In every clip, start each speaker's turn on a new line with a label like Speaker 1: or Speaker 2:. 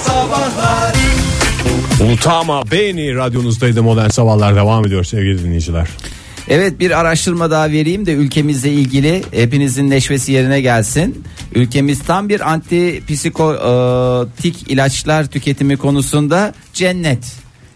Speaker 1: Sabahlar
Speaker 2: Unutama beğeni radyonuzdaydı modern sabahlar devam ediyor sevgili dinleyiciler.
Speaker 3: Evet bir araştırma daha vereyim de ülkemizle ilgili hepinizin neşvesi yerine gelsin. Ülkemiz tam bir antipsikotik ilaçlar tüketimi konusunda cennet.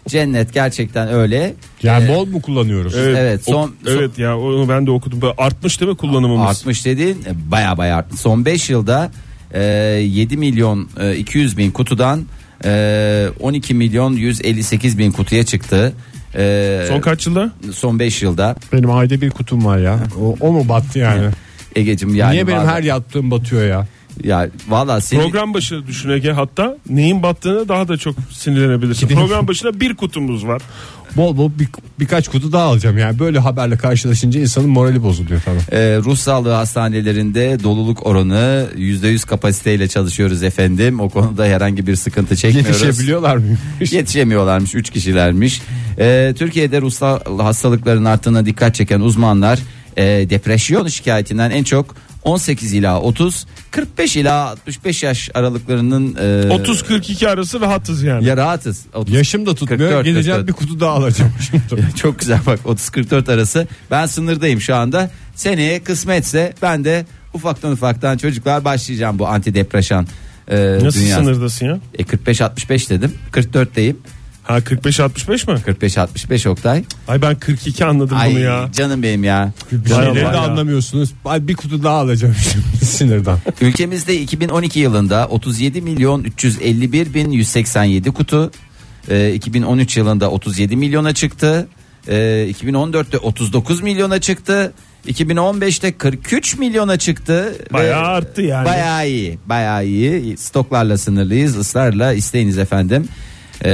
Speaker 3: Cennet gerçekten öyle.
Speaker 2: Yani bol mu kullanıyoruz?
Speaker 3: Evet,
Speaker 4: o-
Speaker 3: son-
Speaker 4: evet ya onu ben de okudum. Böyle Artmış değil mi kullanımımız?
Speaker 3: 60 dediğin e, baya baya arttı. Son 5 yılda e, 7 milyon e, 200 bin kutudan e, 12 milyon 158 bin kutuya çıktı. E,
Speaker 4: Son kaç yılda?
Speaker 3: son 5 yılda
Speaker 2: Benim ayda bir kutum var ya. O, o mu battı yani?
Speaker 3: Egecim yani
Speaker 2: Niye benim
Speaker 3: vallahi-
Speaker 2: her yattığım batıyor ya?
Speaker 3: ya vallahi seni
Speaker 4: Program başı düşün Ege hatta neyin battığını daha da çok sinirlenebilirsin. Program başına bir kutumuz var.
Speaker 2: Bol bol bir, birkaç kutu daha alacağım yani. Böyle haberle karşılaşınca insanın morali bozuluyor tabii.
Speaker 3: Ee, ruh sağlığı hastanelerinde doluluk oranı %100 kapasiteyle çalışıyoruz efendim. O konuda herhangi bir sıkıntı çekmiyoruz.
Speaker 2: Yetişebiliyorlar mı?
Speaker 3: Yetişemiyorlarmış 3 kişilermiş. Ee, Türkiye'de ruh sağlığı hastalıkların arttığına dikkat çeken uzmanlar e, depresyon şikayetinden en çok 18 ila 30, 45 ila 65 yaş aralıklarının e,
Speaker 4: 30-42 arası rahatız yani.
Speaker 3: ya rahatız. 30
Speaker 2: Yaşım da tutmuyor.
Speaker 3: 44,
Speaker 2: Gideceğim
Speaker 3: 44.
Speaker 2: bir kutu daha alacağım şimdi.
Speaker 3: Çok güzel bak 30-44 arası ben sınırdayım şu anda. Seneye kısmetse ben de ufaktan ufaktan çocuklar başlayacağım bu antidepresan e,
Speaker 4: Nasıl
Speaker 3: dünyası.
Speaker 4: sınırdasın ya?
Speaker 3: E, 45-65 dedim 44'teyim
Speaker 4: Ha 45-65 mi?
Speaker 3: 45-65 Oktay.
Speaker 4: Ay ben 42 anladım bunu ya.
Speaker 3: Ay canım benim ya.
Speaker 2: Bir
Speaker 4: Vay
Speaker 2: şeyleri
Speaker 4: vay
Speaker 2: de
Speaker 4: ya.
Speaker 2: anlamıyorsunuz. Ay, Bir kutu daha alacağım şimdi sinirden.
Speaker 3: Ülkemizde 2012 yılında 37 milyon 351 bin 187 kutu. e, 2013 yılında 37 milyona çıktı. E, 2014'te 39 milyona çıktı. 2015'te 43 milyona çıktı. ve
Speaker 4: Bayağı arttı yani.
Speaker 3: Bayağı iyi. Bayağı iyi. Stoklarla sınırlıyız. ısrarla isteyiniz efendim. E,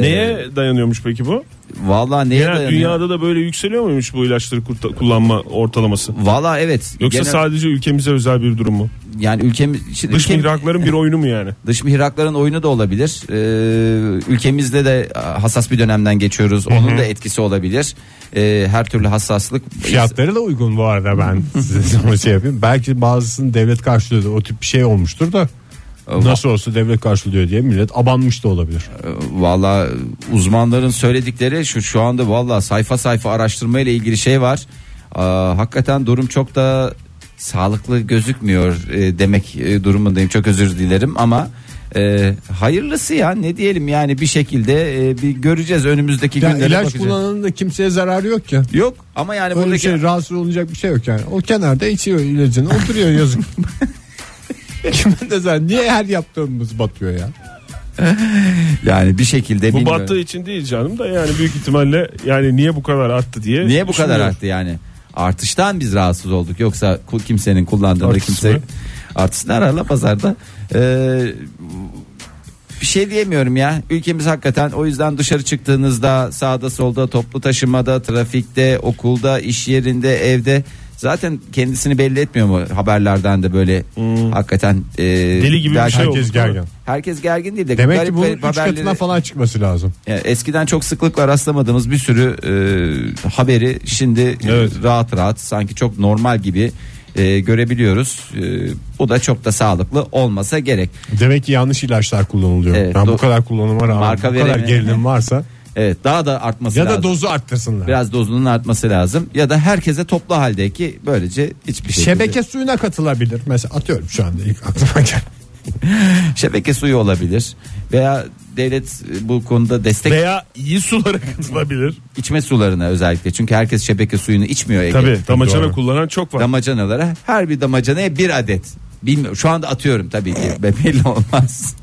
Speaker 4: Neye dayanıyormuş peki bu?
Speaker 3: Vallahi neye
Speaker 4: Genel
Speaker 3: dayanıyor?
Speaker 4: dünyada da böyle yükseliyor muymuş bu ilaçları kurta- kullanma ortalaması?
Speaker 3: Vallahi evet.
Speaker 4: Yoksa
Speaker 3: Genel-
Speaker 4: sadece ülkemize özel bir durum mu?
Speaker 3: yani ülkemiz şimdi
Speaker 4: Dış
Speaker 3: ülkem-
Speaker 4: mihrakların bir oyunu mu yani?
Speaker 3: Dış mihrakların oyunu da olabilir. Ee, ülkemizde de hassas bir dönemden geçiyoruz. Onun da etkisi olabilir. Ee, her türlü hassaslık.
Speaker 2: Fiyatları da uygun bu arada ben size onu şey yapayım. Belki bazısını devlet karşılıyordu. O tip bir şey olmuştur da. Nasıl olsa devlet karşılıyor diye millet abanmış da olabilir.
Speaker 3: Ee, Valla uzmanların söyledikleri şu şu anda valla sayfa sayfa araştırma ile ilgili şey var. Aa, hakikaten durum çok da sağlıklı gözükmüyor e, demek e, durumundayım. Çok özür dilerim ama e, hayırlısı ya ne diyelim yani bir şekilde e, bir göreceğiz önümüzdeki
Speaker 2: Yani
Speaker 3: günlere
Speaker 2: ilaç
Speaker 3: bakacağız. E,
Speaker 2: kullananın da kimseye zararı yok ya.
Speaker 3: Yok ama yani
Speaker 2: Öyle bir
Speaker 3: buradaki
Speaker 2: şey rahatsız olacak bir şey yok yani. O kenarda içiyor ilacını oturuyor yazık. Kimin de sen niye her yaptığımız batıyor ya?
Speaker 3: yani bir şekilde
Speaker 4: Bu
Speaker 3: bilmiyorum.
Speaker 4: battığı için değil canım da yani büyük ihtimalle yani niye bu kadar arttı diye.
Speaker 3: Niye bu kadar
Speaker 4: düşünüyorum.
Speaker 3: arttı yani? Artıştan biz rahatsız olduk. Yoksa ku- kimsenin kullandığında
Speaker 4: Artısı
Speaker 3: kimse
Speaker 4: mı?
Speaker 3: artısını ararla pazarda. Ee, bir şey diyemiyorum ya. Ülkemiz hakikaten o yüzden dışarı çıktığınızda sağda solda toplu taşımada, trafikte, okulda, iş yerinde, evde zaten kendisini belli etmiyor mu haberlerden de böyle
Speaker 2: Hmm.
Speaker 3: hakikaten e,
Speaker 4: Deli gibi bir
Speaker 3: belki-
Speaker 4: şey oldu.
Speaker 2: Herkes gergin.
Speaker 3: Herkes gergin değil de
Speaker 2: Demek
Speaker 3: garip
Speaker 2: ki bunun
Speaker 3: garip
Speaker 2: üç katına
Speaker 3: haberleri-
Speaker 2: falan çıkması lazım.
Speaker 3: yani eskiden çok sıklıkla rastlamadığımız bir sürü e, haberi şimdi e,
Speaker 4: Evet.
Speaker 3: rahat rahat sanki çok normal gibi e, görebiliyoruz. E, bu da çok da sağlıklı olmasa gerek.
Speaker 2: Demek ki yanlış ilaçlar kullanılıyor.
Speaker 3: Evet,
Speaker 2: ben
Speaker 3: do-
Speaker 2: bu kadar kullanıma rağmen
Speaker 3: Marka
Speaker 2: bu kadar
Speaker 3: verimi.
Speaker 2: gerilim varsa
Speaker 3: Evet daha da artması
Speaker 2: ya da
Speaker 3: lazım.
Speaker 2: dozu arttırsınlar.
Speaker 3: Biraz dozunun artması lazım ya da herkese toplu haldeki böylece hiçbir şey.
Speaker 2: Şebeke suyuna katılabilir. Mesela atıyorum şu anda ilk aklıma gel.
Speaker 3: Şebeke suyu olabilir veya devlet e, bu konuda destek
Speaker 4: Veya iyi sulara katılabilir.
Speaker 3: içme sularına özellikle. Çünkü herkes şebeke suyunu içmiyor. Ege.
Speaker 4: Tabii damacana
Speaker 2: Doğru.
Speaker 4: kullanan çok var.
Speaker 3: damacanalara her bir damacanaya bir adet. Bilmiyorum şu anda atıyorum tabii ki Be- belli olmaz.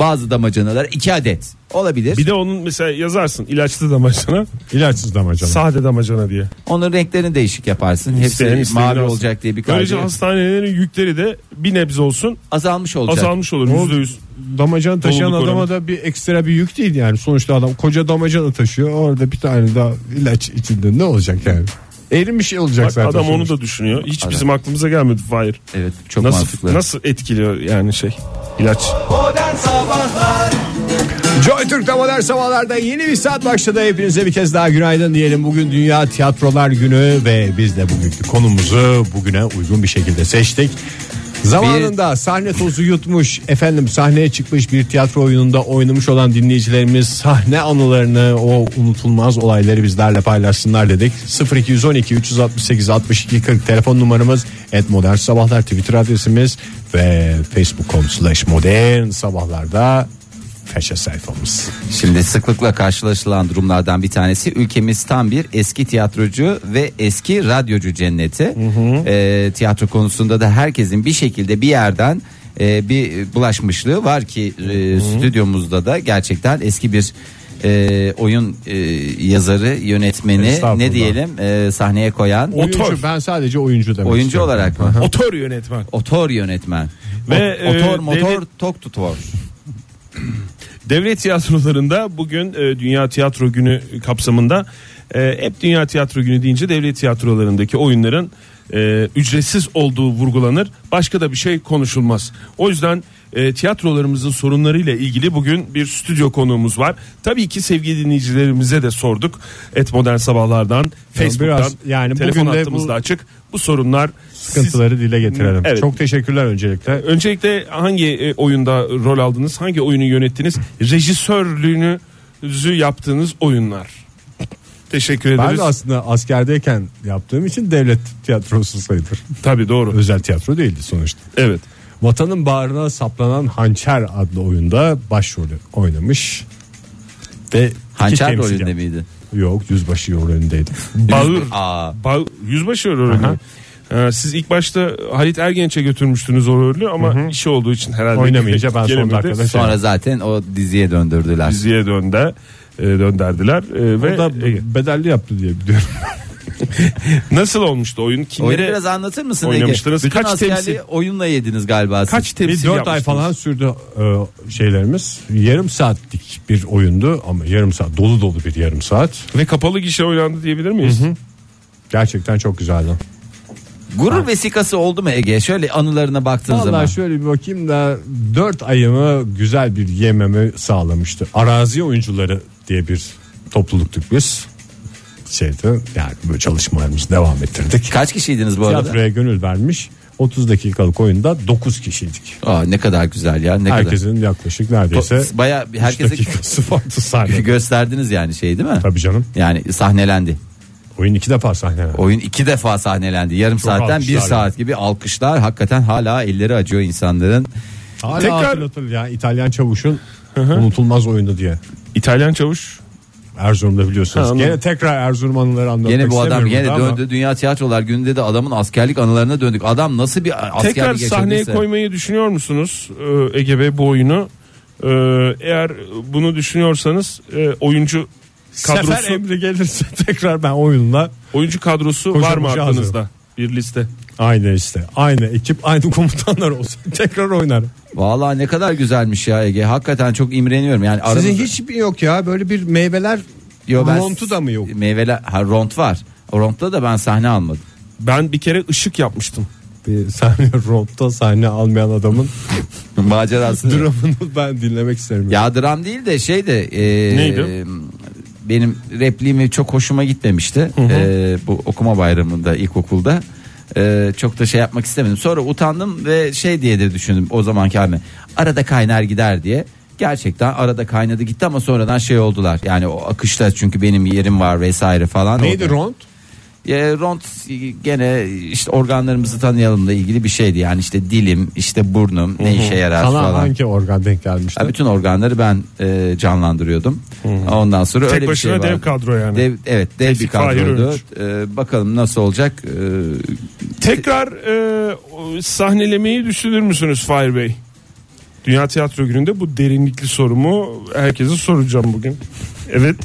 Speaker 3: Bazı damacanalar iki adet olabilir.
Speaker 4: bir de onun mesela yazarsın ilaçlı damacana,
Speaker 2: İlaçsız damacana.
Speaker 4: sade damacana diye.
Speaker 3: Onun renklerini değişik yaparsın. Hepsi
Speaker 4: İsteyen isteğini
Speaker 3: mavi
Speaker 4: alsın.
Speaker 3: olacak diye bir
Speaker 4: Böylece
Speaker 3: kaygı
Speaker 4: hastanelerin yükleri de bir nebze olsun
Speaker 3: azalmış olacak.
Speaker 4: azalmış olur
Speaker 2: O
Speaker 4: yüzde yüz.
Speaker 2: Damacana taşıyan
Speaker 4: Doluluk
Speaker 2: adama
Speaker 4: oranı.
Speaker 2: da bir ekstra bir yük değil yani. Sonuçta adam koca damacana taşıyor. Orada bir tane daha ilaç içinde ne olacak yani? Erimiş şey olacak
Speaker 4: Bak
Speaker 2: zaten.
Speaker 4: adam onu
Speaker 2: sonuçta.
Speaker 4: da düşünüyor. Hiç bizim aklımıza gelmedi Fahir.
Speaker 3: Evet çok
Speaker 4: Nasıl
Speaker 3: mantıklı.
Speaker 4: nasıl etkiliyor yani şey ilaç?
Speaker 1: Modern Sabahlar
Speaker 2: Joy Türk'te modern sabahlarda yeni bir saat başladı. Hepinize bir kez daha günaydın diyelim. Bugün Dünya Tiyatrolar Günü ve biz de bugünkü konumuzu bugüne uygun bir şekilde seçtik. Zamanında sahne tozu yutmuş, efendim sahneye çıkmış bir tiyatro oyununda oynamış olan dinleyicilerimiz sahne anılarını, o unutulmaz olayları bizlerle paylaşsınlar dedik. 0212 368 62 40 telefon numaramız et modern sabahlar twitter adresimiz ve facebook.com slash modern sabahlarda feşe sayfamız.
Speaker 3: Şimdi sıklıkla karşılaşılan durumlardan bir tanesi ülkemiz tam bir eski tiyatrocu ve eski radyocu cenneti. Ee, tiyatro konusunda da herkesin bir şekilde bir yerden e, bir bulaşmışlığı var ki e, stüdyomuzda da gerçekten eski bir e, oyun e, yazarı, yönetmeni ne
Speaker 2: Estağfurullah.
Speaker 3: diyelim e, sahneye koyan
Speaker 2: Oyuncu, ben sadece oyuncu demek
Speaker 3: oyuncu
Speaker 2: istiyorum.
Speaker 3: olarak mı?
Speaker 4: Otör yönetmen.
Speaker 3: Otor yönetmen.
Speaker 4: Ve,
Speaker 3: Ot- otor,
Speaker 4: e,
Speaker 3: motor,
Speaker 4: devlet-
Speaker 3: tok tutor.
Speaker 4: Devlet tiyatrolarında bugün e, Dünya Tiyatro Günü kapsamında e, hep Dünya Tiyatro Günü deyince devlet tiyatrolarındaki oyunların e, ücretsiz olduğu vurgulanır. Başka da bir şey konuşulmaz. O yüzden e, tiyatrolarımızın sorunlarıyla ilgili bugün bir stüdyo konuğumuz var. Tabii ki sevgili dinleyicilerimize de sorduk. Et Modern Sabahlardan, Facebook'tan,
Speaker 2: biraz yani
Speaker 4: telefon
Speaker 2: bugün de
Speaker 4: hattımız
Speaker 2: bu-
Speaker 4: da açık. Bu sorunlar siz-
Speaker 2: Sıkıntıları dile getirelim.
Speaker 4: Evet.
Speaker 2: Çok teşekkürler öncelikle.
Speaker 4: Ee, Öncelikle hangi e, oyunda rol aldınız? Hangi oyunu yönettiniz? Rejisörlüğünüzü yaptığınız oyunlar. Teşekkür
Speaker 2: Ben de
Speaker 4: ederiz.
Speaker 2: aslında askerdeyken yaptığım için devlet tiyatrosu sayılır.
Speaker 4: Tabii doğru.
Speaker 2: Özel tiyatro değildi sonuçta.
Speaker 4: Evet.
Speaker 2: Vatanın bağrına saplanan Hançer adlı oyunda başrolü oynamış. Ve iki
Speaker 3: Hançer
Speaker 2: temsil
Speaker 3: rolünde
Speaker 2: yaptı.
Speaker 3: miydi?
Speaker 2: Yok yüzbaşı rolündeydi.
Speaker 4: Bağır.
Speaker 3: Aa.
Speaker 4: Bağır- Yüzbaşı rolü. Ee, Siz ilk başta Halit Ergenç'e götürmüştünüz o rolü ama işi olduğu için herhalde
Speaker 2: Oynamayınca ben
Speaker 4: gelemedi.
Speaker 2: sonunda arkadaş-
Speaker 3: Sonra zaten o diziye döndürdüler.
Speaker 4: diziye dönde e, dönderdiler E,
Speaker 2: O
Speaker 4: ve
Speaker 2: da
Speaker 4: e,
Speaker 2: bedelli yaptı diye biliyorum.
Speaker 4: nasıl olmuştu oyun?
Speaker 3: Oyunu
Speaker 4: Kimlere
Speaker 3: biraz anlatır mısın
Speaker 4: oynamıştınız?
Speaker 3: Ege? Bütün
Speaker 4: Kaç
Speaker 3: askerliği
Speaker 4: temsil?
Speaker 3: oyunla yediniz galiba siz.
Speaker 4: kaç
Speaker 2: Biz
Speaker 4: tepsi
Speaker 2: 4 ay falan sürdü e, şeylerimiz. Yarım saatlik bir oyundu ama yarım saat dolu dolu bir yarım saat.
Speaker 4: ve kapalı gişe oynandı diyebilir miyiz?
Speaker 2: Gerçekten çok güzeldi.
Speaker 3: Gurur vesikası oldu mu Ege? Şöyle anılarına baktığın zaman.
Speaker 2: Vallahi şöyle bir bakayım da 4 ayımı güzel bir yememe sağlamıştı. Arazi oyuncuları diye bir topluluktuk biz. Şeydi yani böyle çalışmalarımızı devam ettirdik.
Speaker 3: Kaç kişiydiniz bu arada?
Speaker 2: Tiyatroya gönül vermiş 30 dakikalık oyunda 9 kişiydik.
Speaker 3: Aa, ne kadar güzel ya ne
Speaker 2: Herkesin yaklaşık
Speaker 3: kadar.
Speaker 2: neredeyse
Speaker 3: To- Baya
Speaker 2: herkese...
Speaker 3: herkese
Speaker 2: dakikası vardı sahnede.
Speaker 3: gösterdiniz yani şey değil mi?
Speaker 2: Tabii canım
Speaker 3: Yani sahnelendi.
Speaker 2: oyun iki defa sahnelendi.
Speaker 3: Oyun iki defa sahnelendi. Yarım
Speaker 2: Çok
Speaker 3: saatten
Speaker 2: alkışlar
Speaker 3: bir
Speaker 2: ya.
Speaker 3: saat gibi alkışlar. Hakikaten hala elleri acıyor insanların.
Speaker 2: Hala
Speaker 4: Tekrar-
Speaker 2: hatırlatır ya İtalyan Çavuş'un unutulmaz oyunu diye.
Speaker 4: İtalyan çavuş
Speaker 2: Erzurum'da biliyorsunuz.
Speaker 4: Ha, anladım.
Speaker 2: gene tekrar Erzurum anıları anlatmak
Speaker 3: Yine bu adam yine
Speaker 2: istemiyorum burada ama-
Speaker 3: döndü. Dünya Tiyatrolar Günü'nde de adamın askerlik anılarına döndük. Adam nasıl bir askerlik
Speaker 4: Tekrar sahneye
Speaker 3: yaşadıysa.
Speaker 4: koymayı düşünüyor musunuz e, Ege Bey bu oyunu? E, Eğer bunu düşünüyorsanız e, oyuncu kadrosu
Speaker 2: Sefer emri gelirse tekrar ben oyunla
Speaker 4: oyuncu kadrosu
Speaker 2: Koşa
Speaker 4: var mı
Speaker 2: koşa
Speaker 4: aklınızda? Bir liste.
Speaker 2: aynı işte aynı ekip aynı komutanlar olsun tekrar oynarım.
Speaker 3: Vallahi ne kadar güzelmiş ya Ege. Hakikaten çok imreniyorum. Yani aranızda...
Speaker 2: Sizin hiç mi şey yok ya böyle bir meyveler
Speaker 3: Yo, ben-
Speaker 2: montu da mı yok?
Speaker 3: Meyveler ha, ront var. O rontta da ben sahne almadım.
Speaker 4: Ben bir kere ışık yapmıştım.
Speaker 2: Bir sahne rompta sahne almayan adamın
Speaker 3: Macerası.
Speaker 2: dramını ben dinlemek isterim.
Speaker 3: ya dram değil de şey de e,
Speaker 4: Neydi?
Speaker 3: e, benim repliğimi çok hoşuma gitmemişti. E, bu okuma bayramında ilkokulda. E, çok da şey yapmak istemedim. Sonra utandım ve şey diye de düşündüm o zamanki halime. Arada kaynar gider diye. Gerçekten arada kaynadı gitti ama sonradan şey oldular. Yani o akışta çünkü benim yerim var vesaire falan.
Speaker 2: Neydi
Speaker 3: Oldu.
Speaker 2: rond?
Speaker 3: E, ront gene işte organlarımızı tanıyalımla ilgili bir şeydi. Yani işte dilim, işte burnum ne işe yarar
Speaker 2: Sana
Speaker 3: falan.
Speaker 2: hangi organ denk gelmişti?
Speaker 3: Ha, bütün organları ben e, canlandırıyordum. Ondan sonra
Speaker 4: Tek
Speaker 3: öyle bir şey
Speaker 4: başına dev
Speaker 3: vardı.
Speaker 4: kadro yani.
Speaker 3: Dev- evet dev bir
Speaker 4: Tevfik Fahir
Speaker 3: kadroydu.
Speaker 4: Öğünç.
Speaker 3: E, bakalım nasıl olacak. E,
Speaker 4: Tekrar e, o- sahnelemeyi düşünür müsünüz Fahir Bey? Dünya Tiyatro Günü'nde bu derinlikli sorumu herkese soracağım bugün. Evet.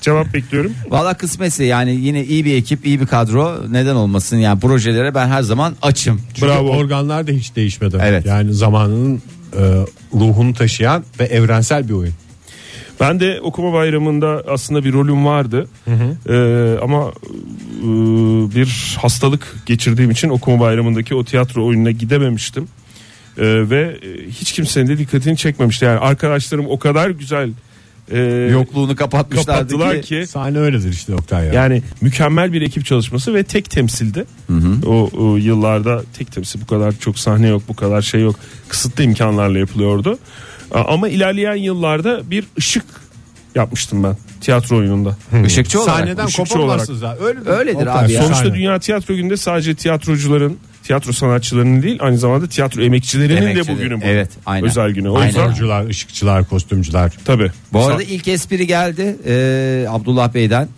Speaker 4: Cevap bekliyorum.
Speaker 3: Valla kısmetse yani yine iyi bir ekip, iyi bir kadro. Neden olmasın yani projelere ben her zaman açım.
Speaker 2: Çünkü
Speaker 4: Bravo.
Speaker 2: organlar da hiç değişmedi.
Speaker 3: Evet.
Speaker 2: Yani zamanının e, ruhunu taşıyan ve evrensel bir oyun.
Speaker 4: Ben de okuma bayramında aslında bir rolüm vardı. Ee, ama e, bir hastalık geçirdiğim için okuma bayramındaki o tiyatro oyununa gidememiştim. Ee, ve e, hiç kimsenin de dikkatini çekmemişti. Yani arkadaşlarım o kadar güzel e,
Speaker 3: Yokluğunu kapatmışlardı
Speaker 4: kapattılar
Speaker 3: ki,
Speaker 4: ki
Speaker 2: Sahne öyledir işte Oktay ya.
Speaker 4: yani mükemmel bir ekip çalışması ve tek temsildi. O, o yıllarda tek temsil bu kadar çok sahne yok, bu kadar şey yok. Kısıtlı imkanlarla yapılıyordu. A- Ama ilerleyen yıllarda bir ışık yapmıştım ben tiyatro oyununda.
Speaker 3: ışıkçı olarak.
Speaker 2: Sahneden
Speaker 4: ışıkçı
Speaker 2: kopamazsınız ha. Öyledir,
Speaker 3: Öyledir abi ya.
Speaker 4: Sonuçta
Speaker 2: Sahne.
Speaker 4: Dünya Tiyatro Günü'nde sadece tiyatrocuların, tiyatro sanatçılarının değil aynı zamanda tiyatro emekçilerinin de
Speaker 3: Emekçilerin,
Speaker 4: bugünü bu.
Speaker 3: evet, aynen.
Speaker 4: Özel günü. O
Speaker 3: Aynen.
Speaker 4: yüzden
Speaker 2: Kurucular, ışıkçılar, kostümcüler.
Speaker 4: tabii.
Speaker 3: Bu arada ilk espri geldi e, Abdullah Bey'den.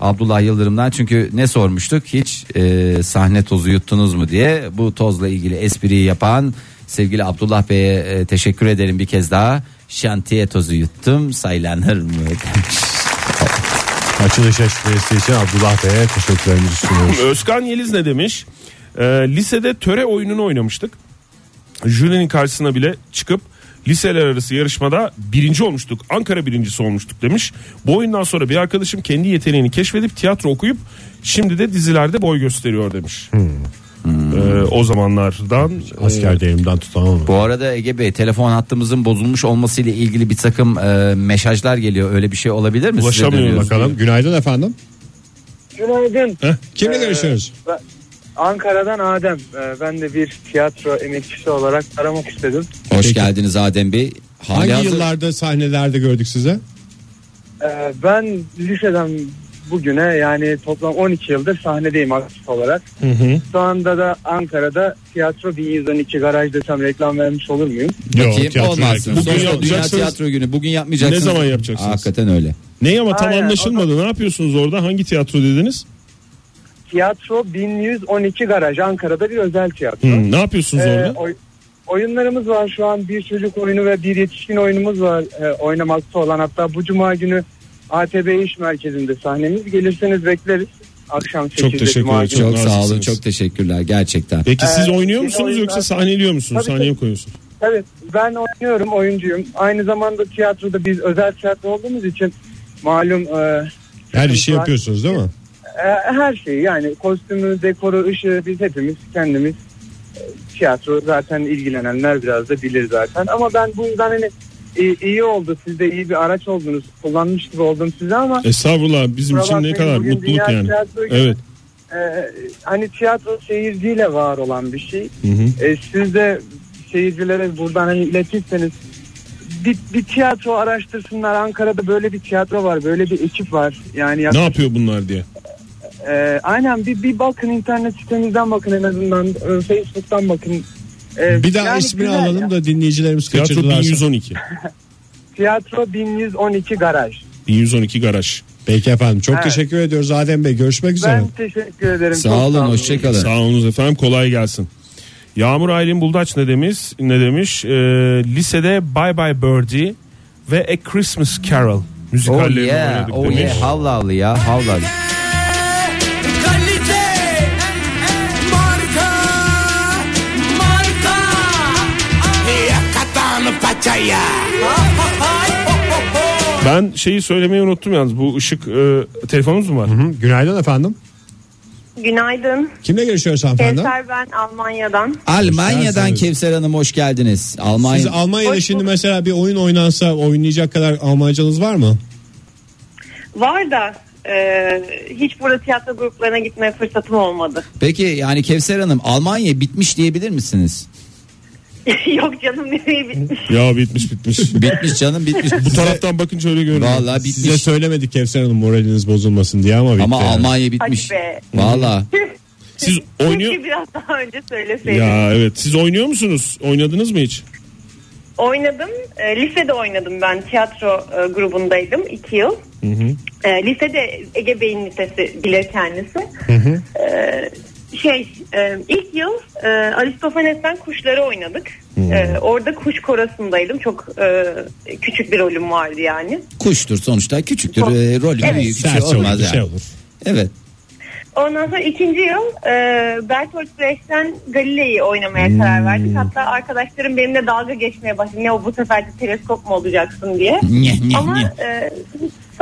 Speaker 3: Abdullah Yıldırım'dan çünkü ne sormuştuk hiç e, sahne tozu yuttunuz mu diye bu tozla ilgili espriyi yapan sevgili Abdullah Bey'e e, teşekkür edelim bir kez daha şantiye tozu yuttum saylanır mı demiş.
Speaker 2: Açılış esprisi için Abdullah Bey'e teşekkürlerimizi sunuyoruz.
Speaker 4: Özkan Yeliz ne demiş? Ee, lisede töre oyununu oynamıştık. Jürinin karşısına bile çıkıp liseler arası yarışmada birinci olmuştuk. Ankara birincisi olmuştuk demiş. Bu oyundan sonra bir arkadaşım kendi yeteneğini keşfedip tiyatro okuyup şimdi de dizilerde boy gösteriyor demiş.
Speaker 3: Hmm.
Speaker 4: Ee, o zamanlardan e,
Speaker 2: Asker de elimden tutan olmadı.
Speaker 3: Bu arada Ege Bey telefon hattımızın bozulmuş olmasıyla ilgili bir takım e, mesajlar geliyor öyle bir şey olabilir mi? Size
Speaker 4: Ulaşamıyorum
Speaker 3: dönüyoruz.
Speaker 2: Bakalım günaydın efendim.
Speaker 5: Günaydın.
Speaker 2: Kimle
Speaker 5: Ee,
Speaker 2: görüşüyoruz?
Speaker 5: ben- Ankara'dan Adem. Ee, Ben de bir tiyatro emekçisi olarak aramak istedim.
Speaker 3: Hoş
Speaker 2: Peki.
Speaker 3: geldiniz Adem Bey.
Speaker 2: Hangi
Speaker 3: Hali hazır-
Speaker 2: yıllarda sahnelerde gördük size?
Speaker 5: Ee, Ben liseden bugüne yani toplam 12 yıldır sahnedeyim aktif olarak. Şu anda da Ankara'da tiyatro 1112 garaj desem reklam vermiş olur muyum?
Speaker 3: Bakayım
Speaker 2: tiyatro
Speaker 3: olmazsın.
Speaker 2: yok.
Speaker 4: Bugün
Speaker 3: Sonuçta Dünya
Speaker 4: yapacaksınız.
Speaker 3: Tiyatro Günü. Bugün yapmayacaksınız.
Speaker 4: Ne zaman yapacaksınız?
Speaker 3: Hakikaten öyle.
Speaker 4: ne ama tam
Speaker 5: Aynen,
Speaker 4: anlaşılmadı. Ne yapıyorsunuz orada? Hangi tiyatro dediniz?
Speaker 5: Tiyatro 1112 garaj Ankara'da bir özel tiyatro.
Speaker 4: Hmm, ne yapıyorsunuz
Speaker 5: Ee,
Speaker 4: orada?
Speaker 5: oy- oyunlarımız var şu an bir çocuk oyunu ve bir yetişkin oyunumuz var e, oynamakta olan hatta bu cuma günü ATB iş merkezinde sahnemiz gelirseniz bekleriz akşam 8'de
Speaker 4: teşekkür
Speaker 5: cuma
Speaker 4: ederim.
Speaker 5: günü.
Speaker 3: Çok sağ olun.
Speaker 4: naziksiniz.
Speaker 3: Çok teşekkürler gerçekten.
Speaker 4: Peki siz
Speaker 5: Ee,
Speaker 4: oynuyor
Speaker 5: biz
Speaker 4: musunuz
Speaker 5: oyunlar-
Speaker 4: yoksa sahneliyor musunuz?
Speaker 5: Tabii,
Speaker 4: Sahneye mi koyuyorsunuz?
Speaker 5: Evet ben oynuyorum oyuncuyum aynı zamanda tiyatroda biz özel tiyatro olduğumuz için malum e,
Speaker 2: Her işi yapıyorsunuz değil mi?
Speaker 5: e, her şeyi yani kostümü dekoru ışığı biz hepimiz kendimiz e, tiyatro zaten ilgilenenler biraz da bilir zaten ama ben bu yüzden hani iyi, iyi oldu siz de iyi bir araç oldunuz kullanmış gibi oldum size ama
Speaker 4: Estağfurullah bizim için ne
Speaker 5: Buralar
Speaker 4: kadar
Speaker 5: bugün
Speaker 4: mutluluk
Speaker 5: Dünya
Speaker 4: yani.
Speaker 5: Tiyatro Günü.
Speaker 4: Evet.
Speaker 5: Ee, hani tiyatro seyirciyle var olan bir şey.
Speaker 4: hı.
Speaker 5: Ee, siz de seyircilere buradan hani iletirseniz bir, bir tiyatro araştırsınlar. Ankara'da böyle bir tiyatro var, böyle bir ekip var. Yani yak-
Speaker 4: Ne yapıyor bunlar diye.
Speaker 5: Ee, aynen bir bir bakın internet sitemizden bakın en azından Ee, Facebook'tan bakın. Ee,
Speaker 2: Bir daha
Speaker 5: yani
Speaker 2: ismini
Speaker 5: güzel
Speaker 2: alalım
Speaker 5: ya.
Speaker 2: da dinleyicilerimiz
Speaker 4: Tiyatro
Speaker 2: kaçırdılarsa.
Speaker 4: 1112.
Speaker 5: Tiyatro 1112 Garaj.
Speaker 4: 1112 garaj.
Speaker 2: Peki efendim çok
Speaker 5: Evet.
Speaker 2: teşekkür ediyoruz Adem Bey. Görüşmek üzere.
Speaker 5: Ben teşekkür ederim. Çok
Speaker 3: Sağ olun. Hoşçakalın.
Speaker 4: Sağ olunuz efendim kolay gelsin. Yağmur Aylin Buldaç ne demiş? Ne demiş? Ee, lisede Bye Bye Birdie ve A Christmas Carol
Speaker 3: Oh
Speaker 4: müzikallerini
Speaker 3: yeah.
Speaker 4: oynadık
Speaker 3: Oh
Speaker 4: demiş.
Speaker 3: yeah. Havla havla ya. Havla.
Speaker 1: Kalite marka marka Yakatan paçaya
Speaker 4: Ben şeyi söylemeyi unuttum yalnız bu ışık e, telefonunuz mu var?
Speaker 2: Hı, Günaydın efendim.
Speaker 6: Günaydın.
Speaker 2: Kimle görüşüyoruz hanımefendi?
Speaker 6: Kevser ben Almanya'dan.
Speaker 3: Almanya'dan
Speaker 2: geldiniz.
Speaker 3: Kevser Hanım hoş geldiniz. Almanya.
Speaker 2: Siz Almanya'da
Speaker 6: Hoş
Speaker 2: şimdi
Speaker 6: bulduk.
Speaker 2: mesela bir oyun oynansa oynayacak kadar Almancanız var mı?
Speaker 6: Var da e, hiç burada tiyatro gruplarına gitme fırsatım olmadı.
Speaker 3: Peki yani Kevser Hanım Almanya bitmiş diyebilir misiniz?
Speaker 6: Yok canım nereye bitmiş.
Speaker 4: Ya bitmiş bitmiş.
Speaker 3: Bitmiş canım bitmiş.
Speaker 4: bu taraftan bakınca öyle görünüyor.
Speaker 3: Vallahi
Speaker 2: Size
Speaker 3: bitmiş.
Speaker 2: söylemedik Kevser Hanım moraliniz bozulmasın diye ama bitti.
Speaker 3: Ama
Speaker 2: yani.
Speaker 3: Almanya bitmiş.
Speaker 6: Hadi be.
Speaker 3: Valla.
Speaker 4: Siz oynuyor
Speaker 6: Keşke biraz daha önce söyleseydin.
Speaker 4: Ya evet siz oynuyor musunuz? Oynadınız mı hiç?
Speaker 6: Oynadım. e, lisede oynadım ben. Tiyatro e, grubundaydım iki yıl. E, lisede Ege Bey'in lisesi bilir kendisi. E, şey e, ilk yıl e, Aristofanes'ten kuşları oynadık. E, orada kuş korasındaydım. Çok e, küçük bir rolüm vardı yani.
Speaker 3: Kuştur sonuçta küçüktür. E, rolü
Speaker 6: Evet.
Speaker 3: büyük bir şey
Speaker 2: Ters olur,
Speaker 3: olmaz
Speaker 2: bir şey
Speaker 3: yani.
Speaker 2: olur.
Speaker 3: Evet.
Speaker 6: Ondan sonra ikinci yıl e, Bertolt Brecht'ten Galilei'yi oynamaya
Speaker 3: Hmm.
Speaker 6: karar verdik. Hatta arkadaşlarım benimle dalga geçmeye başladı. Ne o bu sefer de teleskop mu olacaksın diye.
Speaker 3: Nyeh, nyeh,
Speaker 6: Ama
Speaker 3: nyeh.
Speaker 6: e,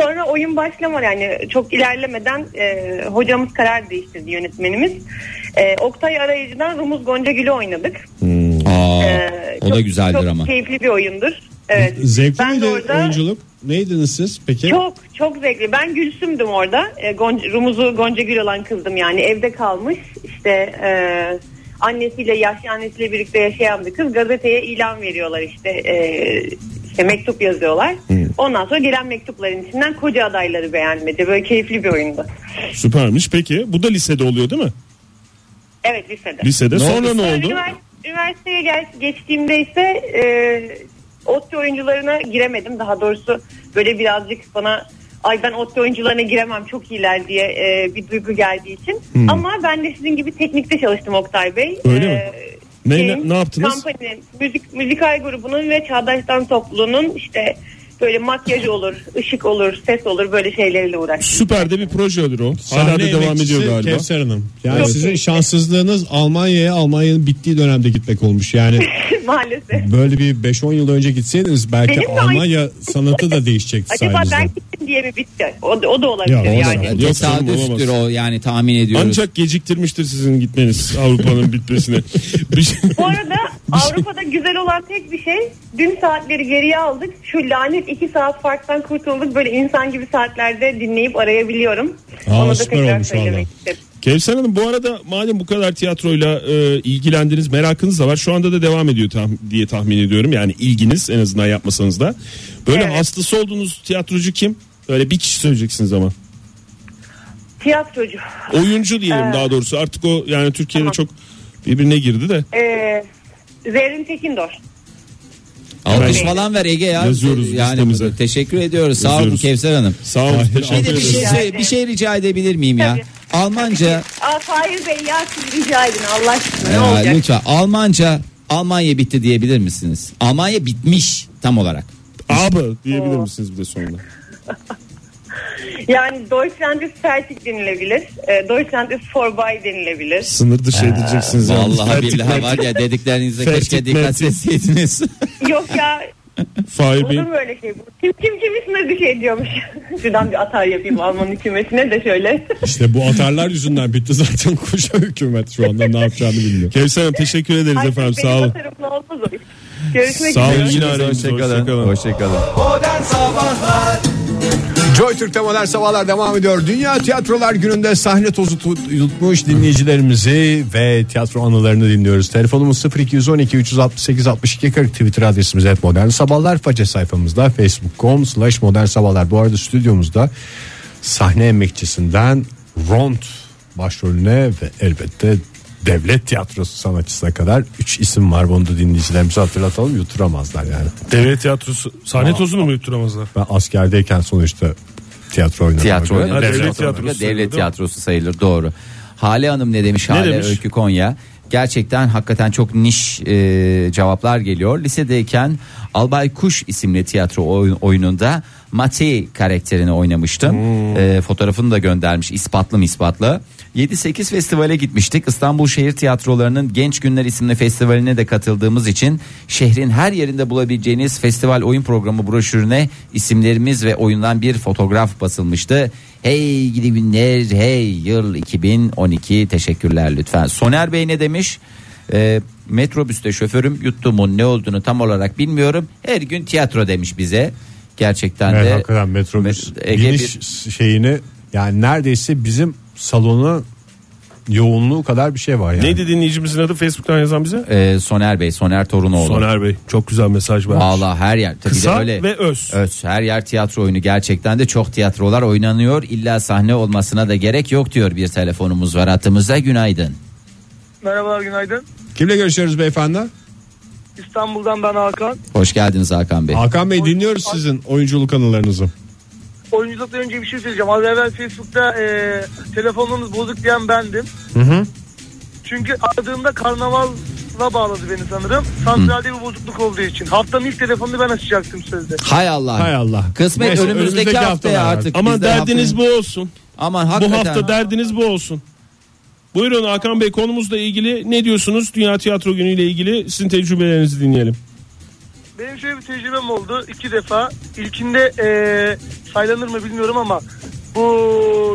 Speaker 6: sonra oyun başlamadı yani çok ilerlemeden e, hocamız karar değiştirdi yönetmenimiz. E, Oktay Arayıcı'dan Rumuz Goncagül'ü oynadık.
Speaker 3: Aa,
Speaker 6: E,
Speaker 3: o da
Speaker 6: çok-
Speaker 3: güzeldir
Speaker 6: çok
Speaker 3: ama.
Speaker 6: keyifli bir oyundur. Evet.
Speaker 2: Zevkli
Speaker 6: ben
Speaker 2: miydi
Speaker 6: de orada
Speaker 2: oyunculuk? neydiniz siz peki?
Speaker 6: Çok çok zevkli. Ben Gülsüm'düm orada. E, Gonca, Rumuz'u Gonca Gül olan kızdım yani. Evde kalmış işte e, annesiyle yaşlı annesiyle birlikte yaşayan bir kız. Gazeteye ilan veriyorlar işte. E, işte mektup yazıyorlar. Ondan sonra gelen mektupların içinden koca adayları beğenmedi. Böyle keyifli bir oyundu.
Speaker 4: Süpermiş. Peki bu da lisede oluyor değil mi?
Speaker 6: Evet lisede.
Speaker 4: Lisede. sonra ne
Speaker 6: Sonra
Speaker 4: oldu?
Speaker 6: ünivers- üniversiteye gel- geçtiğimde ise e, ODTÜ oyuncularına giremedim. Daha doğrusu böyle birazcık bana ay ben ODTÜ oyuncularına giremem çok iyiler diye e, bir duygu geldiği için. Ama ben de sizin gibi teknikte çalıştım Oktay Bey.
Speaker 4: Hmm.
Speaker 6: E,
Speaker 4: Öyle mi? Ne- ne-
Speaker 6: şeyin,
Speaker 4: ne yaptınız?
Speaker 6: Kampanyanın, müzik, müzikal grubunun ve çağdaş dans topluluğunun işte böyle makyaj olur, ışık olur, ses olur böyle şeylerle uğraştım.
Speaker 4: Süper de bir proje olur o. Hala da
Speaker 2: Sahne
Speaker 4: devam
Speaker 2: emekçisi
Speaker 4: ediyor galiba.
Speaker 2: Kevser Hanım. Yani
Speaker 6: Çok
Speaker 2: sizin
Speaker 6: iyi.
Speaker 2: şanssızlığınız Almanya'ya Almanya'nın bittiği dönemde gitmek olmuş. Yani
Speaker 6: Maalesef.
Speaker 2: böyle bir 5-10 yıl önce gitseydiniz belki
Speaker 6: Benim de
Speaker 2: Almanya sanatı da değişecekti
Speaker 6: Acaba
Speaker 2: sayenizde.
Speaker 6: ben gittim diye mi bitti? O, o da olabilir
Speaker 2: Ya, o da
Speaker 6: yani.
Speaker 2: olabilir.
Speaker 4: Yok canım,
Speaker 3: E, Tesadüftür
Speaker 4: olamaz.
Speaker 3: o yani tahmin ediyoruz.
Speaker 4: Ancak geciktirmiştir sizin gitmeniz Avrupa'nın bitmesine. Bir şey-
Speaker 6: Bu arada
Speaker 2: şey-
Speaker 6: Avrupa'da güzel olan tek bir şey dün saatleri geriye aldık. Şu lanet iki saat farktan kurtulduk. Böyle insan gibi saatlerde dinleyip arayabiliyorum.
Speaker 2: Aa,
Speaker 6: Onu da
Speaker 2: süper
Speaker 6: tekrar
Speaker 2: olmuş
Speaker 6: söylemek
Speaker 2: vallahi.
Speaker 6: istedim.
Speaker 4: Kevser Hanım bu arada madem bu kadar tiyatroyla e, ilgilendiniz merakınız da var şu anda da devam ediyor tah- diye tahmin ediyorum yani ilginiz en azından yapmasanız da böyle
Speaker 6: Evet.
Speaker 4: hastası olduğunuz tiyatrocu kim? Böyle bir kişi söyleyeceksiniz ama
Speaker 6: Tiyatrocu.
Speaker 4: oyuncu diyelim daha doğrusu artık o yani Türkiye'de çok birbirine girdi de
Speaker 6: Ee, Zerrin Tekindor.
Speaker 3: Alkış
Speaker 6: Hemen-
Speaker 3: falan ver Ege ya.
Speaker 4: Yazıyoruz listemize.
Speaker 3: yani teşekkür ediyoruz. Sağ olun
Speaker 4: Yazıyoruz.
Speaker 3: Kevser Hanım.
Speaker 4: sağ olun
Speaker 3: Bir
Speaker 4: teşekkür
Speaker 3: de bir şey,
Speaker 4: ederim.
Speaker 6: Rica
Speaker 3: söyle-
Speaker 6: ederim.
Speaker 3: bir şey rica edebilir miyim ya? Almanca
Speaker 6: Aa, Fahir Bey ya siz rica edin Allah aşkına ne
Speaker 3: Ya
Speaker 6: olacak?
Speaker 3: lütfen Almanca Almanya bitti diyebilir misiniz? Almanya bitmiş tam olarak.
Speaker 4: Abi diyebilir misiniz bir de sonra?
Speaker 6: Yani Deutschland ist fertig denilebilir. Ee, Deutschland ist vorbei denilebilir.
Speaker 4: Sınır dışı
Speaker 2: Ee,
Speaker 4: edeceksiniz. yalnız.
Speaker 3: Vallahi
Speaker 4: Fertik
Speaker 3: billahi var ya dediklerinize
Speaker 4: Fertik
Speaker 3: keşke dikkat
Speaker 4: mertik.
Speaker 3: etseydiniz.
Speaker 6: Yok ya
Speaker 4: Fahir Bey
Speaker 6: Olur mu öyle şey? Kim kim kimisine bir şey diyormuş. Şuradan bir atar yapayım Alman hükümetine de şöyle.
Speaker 2: İşte bu atarlar yüzünden bitti zaten koca hükümet şu anda ne yapacağını bilmiyor.
Speaker 4: Kevser Hanım teşekkür ederiz
Speaker 6: Ay,
Speaker 4: efendim
Speaker 6: benim
Speaker 4: sağ olun.
Speaker 6: atarımla olmaz o iş. Görüşmek
Speaker 4: Sağ olun
Speaker 6: üzere.
Speaker 4: yine arayınız. Hoşçakalın.
Speaker 3: Hoşçakalın.
Speaker 1: Modern Sabahlar
Speaker 2: Joy Türk'te modern sabahlar devam ediyor. Dünya Tiyatrolar Günü'nde sahne tozu tut- tutmuş dinleyicilerimizi ve tiyatro anılarını dinliyoruz. Telefonumuz 0212 368 62 40 Twitter adresimiz et modern sabahlar. Faça sayfamızda facebook.com slash modern sabahlar. Bu arada stüdyomuzda sahne emekçisinden Ront başrolüne ve elbette devlet tiyatrosu sanatçısına kadar 3 isim var. Bunu da dinleyicilerimize hatırlatalım yuturamazlar yani.
Speaker 4: Devlet tiyatrosu sahne tozunu mu yutturamazlar?
Speaker 2: Ben askerdeyken sonuçta tiyatro oynadım.
Speaker 3: Tiyatro
Speaker 2: Öyle.
Speaker 3: oynadı.
Speaker 4: Ha, devlet
Speaker 3: Devlet
Speaker 4: tiyatrosu
Speaker 3: tiyatrosu,
Speaker 4: sayılır, değil mi?
Speaker 3: devlet tiyatrosu sayılır doğru. Hale Hanım ne demiş Hale
Speaker 4: demiş?
Speaker 3: Öykü Konya? Gerçekten hakikaten çok niş e, cevaplar geliyor. Lisedeyken Albay Kuş isimli tiyatro oyun- oyununda Mati karakterini oynamıştım.
Speaker 4: Hmm.
Speaker 3: E, fotoğrafını da göndermiş ispatlı mı ispatlı. 7-8 festivale gitmiştik. İstanbul Şehir Tiyatroları'nın Genç Günler isimli festivaline de katıldığımız için şehrin her yerinde bulabileceğiniz festival oyun programı broşürüne isimlerimiz ve oyundan bir fotoğraf basılmıştı. Hey gidi günler hey yıl 2012 teşekkürler lütfen. Soner Bey ne demiş? Ee, metrobüste şoförüm yuttuğumun ne olduğunu tam olarak bilmiyorum. Her gün tiyatro demiş bize. Gerçekten
Speaker 2: Evet,
Speaker 3: de
Speaker 2: hakikaten metrobüs
Speaker 3: Met- Ege
Speaker 2: biniş
Speaker 3: bir-
Speaker 2: şeyini yani neredeyse bizim salonu yoğunluğu kadar bir şey var yani.
Speaker 4: Neydi dinleyicimizin adı Facebook'tan yazan bize?
Speaker 3: Ee, Soner Bey, Soner Torunoğlu.
Speaker 4: Soner Bey çok güzel mesaj vermiş.
Speaker 3: Valla her yer. Tabii
Speaker 4: Kısa
Speaker 3: de öyle.
Speaker 4: ve öz.
Speaker 3: Öz. Her yer tiyatro oyunu. Gerçekten de çok tiyatrolar oynanıyor. İlla sahne olmasına da gerek yok diyor bir telefonumuz var hattımızda. Günaydın.
Speaker 7: Merhabalar günaydın.
Speaker 2: Kimle görüşüyoruz beyefendi?
Speaker 7: İstanbul'dan ben Hakan.
Speaker 3: Hoş geldiniz Hakan Bey.
Speaker 2: Hakan Bey dinliyoruz sizin oyunculuk anılarınızı.
Speaker 7: Oyunculuktan önce bir şey söyleyeceğim. Az evvel Facebook'ta e, telefonunuz bozuk diyen bendim. Çünkü aradığımda karnavalla bağladı beni sanırım. Santralde bir bozukluk olduğu için. Haftanın ilk telefonunu ben açacaktım sözde.
Speaker 3: Hay Allah.
Speaker 2: Hay Allah.
Speaker 3: Kısmet
Speaker 2: Neyse,
Speaker 3: önümüzdeki,
Speaker 2: önümüzdeki
Speaker 3: haftaya
Speaker 2: haftalar.
Speaker 3: artık.
Speaker 4: Ama
Speaker 3: Biz de
Speaker 4: derdiniz
Speaker 3: haftaya-
Speaker 4: bu olsun.
Speaker 3: Aman hakikaten.
Speaker 4: Bu hafta derdiniz bu olsun. Buyurun Hakan Bey konumuzla ilgili ne diyorsunuz? Dünya Tiyatro Günü ile ilgili sizin tecrübelerinizi dinleyelim.
Speaker 7: Benim şöyle bir tecrübem oldu. iki defa. İlkinde e, saylanır mı bilmiyorum ama bu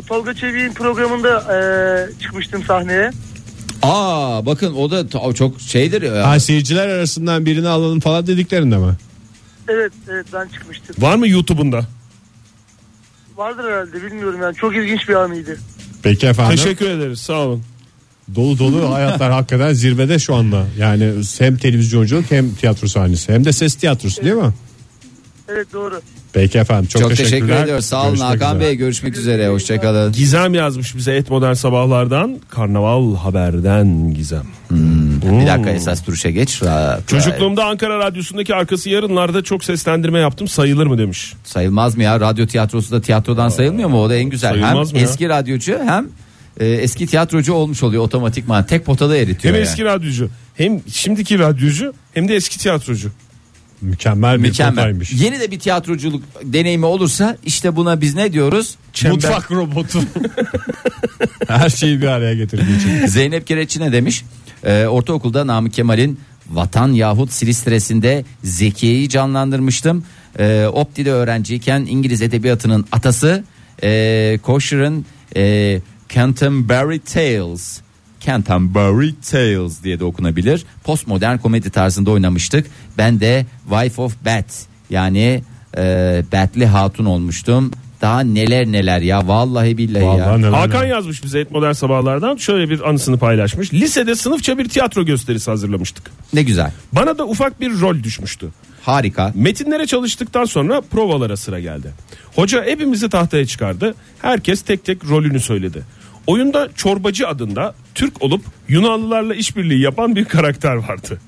Speaker 7: Tolga Çevik'in programında e, çıkmıştım sahneye.
Speaker 3: Aa bakın o da ta- o çok şeydir. ya.
Speaker 2: Ha, seyirciler arasından birini alalım falan dediklerinde mi?
Speaker 7: Evet evet ben çıkmıştım.
Speaker 4: Var mı YouTube'unda?
Speaker 7: Vardır herhalde bilmiyorum yani çok ilginç bir anıydı.
Speaker 2: Peki efendim.
Speaker 4: Teşekkür ederiz sağ olun.
Speaker 2: Dolu dolu hayatlar hakikaten zirvede şu anda. Yani hem televizyonculuk hem tiyatro sahnesi hem de ses tiyatrosu değil mi?
Speaker 7: Evet doğru.
Speaker 2: Peki efendim çok,
Speaker 3: Çok teşekkür
Speaker 2: teşekkürler.
Speaker 3: ediyoruz. Sağ olun
Speaker 2: Görüşmek
Speaker 3: Hakan
Speaker 2: üzere.
Speaker 3: Bey. Görüşmek üzere. Hoşçakalın.
Speaker 4: Gizem yazmış bize et modern sabahlardan. Karnaval haberden Gizem.
Speaker 3: Bir dakika esas duruşa geç. Rahat, rahat.
Speaker 4: Çocukluğumda Ankara Radyosu'ndaki arkası yarınlarda çok seslendirme yaptım sayılır mı demiş.
Speaker 3: Sayılmaz mı ya? Radyo tiyatrosu da tiyatrodan sayılmıyor mu? O da en güzel.
Speaker 4: Sayılmaz
Speaker 3: hem
Speaker 4: mı ya?
Speaker 3: eski radyocu hem e, eski tiyatrocu olmuş oluyor otomatikman. Tek potada eritiyor.
Speaker 4: Hem
Speaker 3: yani.
Speaker 4: eski radyocu hem şimdiki radyocu hem de eski tiyatrocu.
Speaker 2: Mükemmel bir
Speaker 3: Mükemmel.
Speaker 2: fotaymış.
Speaker 3: Yeni de bir tiyatroculuk deneyimi olursa işte buna biz ne diyoruz?
Speaker 2: Mutfak robotu. Her şeyi bir araya getirdiği için.
Speaker 3: Zeynep Kireççi ne demiş? Ee, ortaokulda Namık Kemal'in Vatan yahut Silistres'inde Zekiye'yi canlandırmıştım. Ee, Opti'de öğrenciyken İngiliz edebiyatının atası e, Kosher'ın e, Canterbury Tales. Canterbury Tales diye de okunabilir. Postmodern komedi tarzında oynamıştık. Ben de Wife of Bat yani e, Batli Hatun olmuştum. Daha neler neler ya vallahi billahi ya.
Speaker 2: Vallahi neler
Speaker 4: Hakan
Speaker 2: neler.
Speaker 4: yazmış bize et modern sabahlardan şöyle bir anısını paylaşmış. Lisede sınıfça bir tiyatro gösterisi hazırlamıştık.
Speaker 3: Ne güzel.
Speaker 4: Bana da ufak bir rol düşmüştü.
Speaker 3: Harika.
Speaker 4: Metinlere çalıştıktan sonra provalara sıra geldi. Hoca hepimizi tahtaya çıkardı. Herkes tek tek rolünü söyledi. Oyunda çorbacı adında Türk olup Yunanlılarla işbirliği yapan bir karakter vardı.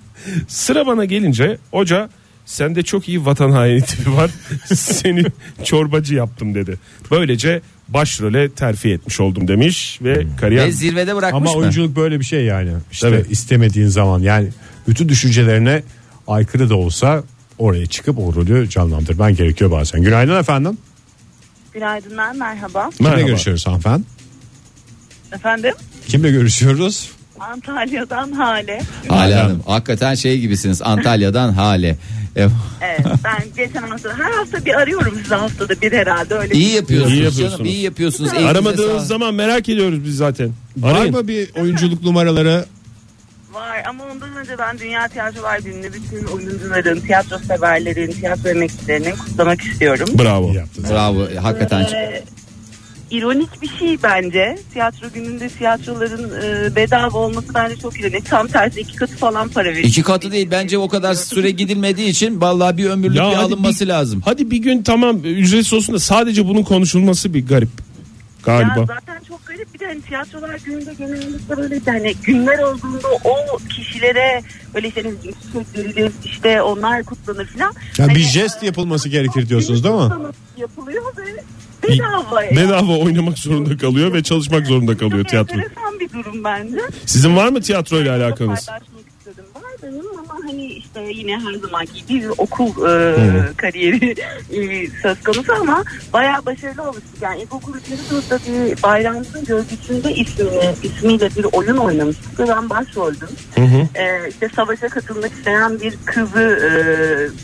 Speaker 4: Sıra bana gelince hoca sende çok iyi vatan haini tipi var. Seni çorbacı yaptım dedi. Böylece başrole terfi etmiş oldum demiş ve kariyer
Speaker 3: Ve zirvede bırakmış
Speaker 2: Ama
Speaker 3: mı?
Speaker 2: oyunculuk böyle bir şey yani. İşte
Speaker 4: Tabii.
Speaker 2: istemediğin zaman yani bütün düşüncelerine aykırı da olsa oraya çıkıp o rolü canlandırman gerekiyor bazen. Günaydın efendim.
Speaker 8: Günaydınlar merhaba.
Speaker 2: Kimle
Speaker 4: Merhaba.
Speaker 2: görüşüyoruz hanımefendi?
Speaker 8: Efendim
Speaker 2: Kimle görüşüyoruz?
Speaker 8: Antalya'dan Hale.
Speaker 3: Hale Hanım hakikaten şey gibisiniz Antalya'dan Hale. E,
Speaker 8: Evet ben geçen hafta her hafta bir arıyorum sizi haftada bir herhalde öyle.
Speaker 3: iyi yapıyorsunuz,
Speaker 4: İyi yapıyorsunuz.
Speaker 3: canım iyi yapıyorsunuz. Elinize
Speaker 4: aramadığınız
Speaker 3: sağlık.
Speaker 4: zaman merak ediyoruz biz zaten.
Speaker 2: Var
Speaker 4: Arayın.
Speaker 2: mı bir oyunculuk numaraları?
Speaker 8: Var ama ondan önce ben Dünya Tiyatrolar Günü'nü bütün oyuncuların, tiyatro severlerin, tiyatro emekçilerinin kutlamak istiyorum.
Speaker 4: Bravo.
Speaker 2: Yaptınız.
Speaker 3: Bravo e, hakikaten.
Speaker 8: Ee, ironik bir şey bence. Tiyatro gününde tiyatroların e, bedava olması bence çok ironik. Tam tersi iki katı falan para veriyor.
Speaker 3: İki katı değil bence o kadar süre gidilmediği için vallahi bir ömürlük
Speaker 4: Ya
Speaker 3: bir
Speaker 4: hadi
Speaker 3: alınması
Speaker 4: bir-
Speaker 3: lazım.
Speaker 4: Hadi bir gün tamam ücretsiz olsun da sadece bunun konuşulması bir garip. Galiba.
Speaker 8: Ya zaten çok garip bir de hani tiyatrolar gününde genellikle böyle yani günler olduğunda o kişilere böyle işte ne bileyim çiçek verilir işte onlar kutlanır filan.
Speaker 2: Yani
Speaker 8: Hani,
Speaker 2: bir jest
Speaker 8: e,
Speaker 2: yapılması gerekir diyorsunuz değil mi?
Speaker 8: Yapılıyor ve bedava. yani.
Speaker 4: Bedava oynamak zorunda kalıyor ve çalışmak zorunda kalıyor
Speaker 8: Çok
Speaker 4: tiyatro.
Speaker 8: enteresan bir durum bence.
Speaker 4: Sizin var mı tiyatroyla
Speaker 8: Bunu
Speaker 4: alakanız?
Speaker 8: Paylaşmak istedim. Var benim ama hani işte yine her zamanki gibi okul e, kariyeri e, söz konusu ama bayağı başarılı olmuştuk. Yani ilkokul üçüncü sınıfta bir bayramın gölgesinde ismini, ismiyle bir oyun oynamıştık ve ben başroldüm. E, işte savaşa katılmak isteyen bir kızı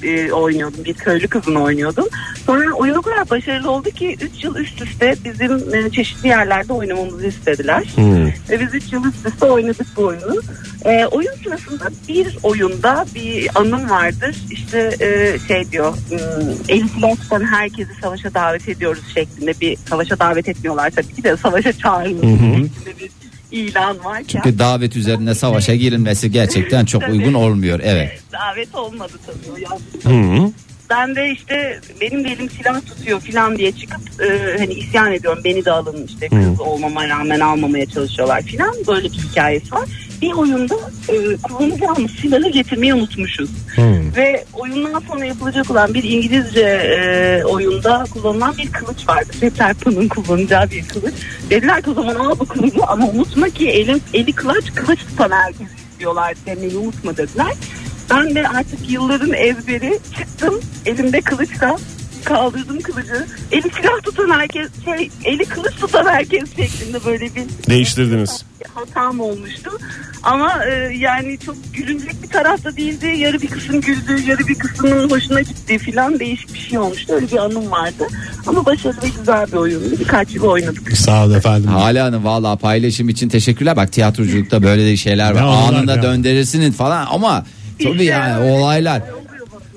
Speaker 8: e, e, oynuyordum. Bir köylü kızını oynuyordum. Sonra oyun o kadar başarılı oldu ki 3 yıl üst üste bizim e, çeşitli yerlerde oynamamızı istediler. Ve biz 3 yıl üst üste oynadık bu oyunu. Ee, oyun sırasında bir oyunda bir anım vardır. İşte e, şey diyor, hmm, elitlerden herkesi savaşa davet ediyoruz şeklinde bir savaşa davet etmiyorlar tabii ki de savaşa çağırıyoruz şeklinde bir ilan varken.
Speaker 3: Çünkü davet üzerine savaşa girilmesi gerçekten çok
Speaker 8: Tabii.
Speaker 3: uygun olmuyor. Evet.
Speaker 8: davet olmadı tabii o yazdı. Ben de işte benim de elim silah tutuyor filan diye çıkıp e, hani isyan ediyorum beni de alın işte kız olmama rağmen almamaya çalışıyorlar filan böyle bir hikayesi var. Bir oyunda e, kullanacağımız silahı getirmeyi unutmuşuz.
Speaker 2: Hmm.
Speaker 8: Ve oyundan sonra yapılacak olan bir İngilizce e, oyunda kullanılan bir kılıç vardı. Peter Pan'ın kullanacağı bir kılıç. Dediler ki o zaman al bu kılıcı ama unutma ki elin, eli kılıç kılıç tutan herkes istiyorlar demeyi unutma dediler. Ben de artık yılların ezberi çıktım elimde kılıçla kaldırdım kılıcı. Eli silah tutan herkes şey eli kılıç tutan herkes şeklinde böyle bir
Speaker 4: Değiştirdiniz.
Speaker 8: hatam olmuştu. Ama e, yani çok gülünecek bir tarafta değildi. Yarı bir kısım güldü, yarı bir kısmının hoşuna gitti filan değişik bir şey olmuştu. Öyle bir anım vardı. Ama başarılı ve güzel bir oyundu. Birkaç yıl oynadık.
Speaker 2: Sağ olun efendim.
Speaker 3: Hale Hanım valla paylaşım için teşekkürler. Bak tiyatroculukta böyle de şeyler var.
Speaker 2: Ne anılar
Speaker 3: Anında
Speaker 2: ya.
Speaker 3: döndürürsünüz falan ama tabii yani olaylar.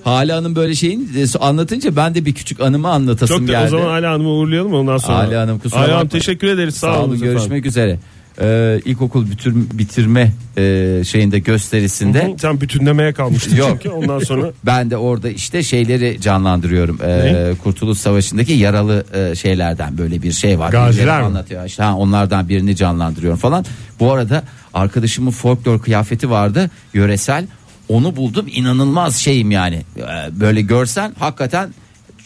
Speaker 3: Hale Hanım böyle şeyin e, anlatınca ben de bir küçük anımı anlatasım
Speaker 4: Çok da
Speaker 3: geldi.
Speaker 4: o zaman Ala Hanım'ı uğurlayalım ondan sonra.
Speaker 3: Ala Hanım, kusura
Speaker 4: Ala Hanım
Speaker 3: bakma.
Speaker 4: teşekkür ederiz. Sağ,
Speaker 3: Sağ olun
Speaker 4: olun. efendim.
Speaker 3: görüşmek üzere. Ee, ilkokul bitir- bitirme e, şeyinde gösterisinde
Speaker 4: Hı, Sen bütünlemeye kalmıştın
Speaker 3: Yok.
Speaker 4: çünkü ondan sonra
Speaker 3: ben de orada işte şeyleri canlandırıyorum. Ee, Kurtuluş Savaşı'ndaki yaralı e, şeylerden böyle bir şey var.
Speaker 2: Gaziler
Speaker 3: Birileri
Speaker 2: mi?
Speaker 3: Anlatıyor. İşte, ha, onlardan birini canlandırıyorum falan. Bu arada arkadaşımın folklor kıyafeti vardı yöresel. Onu buldum inanılmaz şeyim yani. Ee, böyle görsen hakikaten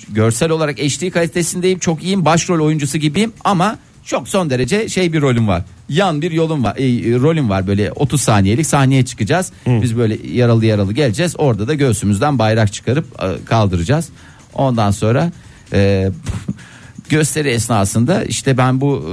Speaker 3: görsel olarak HD kalitesindeyim. Çok iyiyim. Başrol oyuncusu gibiyim ama çok son derece şey bir rolüm var. Yan bir yolum var. e, rolüm var böyle 30 saniyelik sahneye çıkacağız. Biz böyle yaralı yaralı geleceğiz. Orada da göğsümüzden bayrak çıkarıp e, kaldıracağız. Ondan sonra e, gösteri esnasında işte ben bu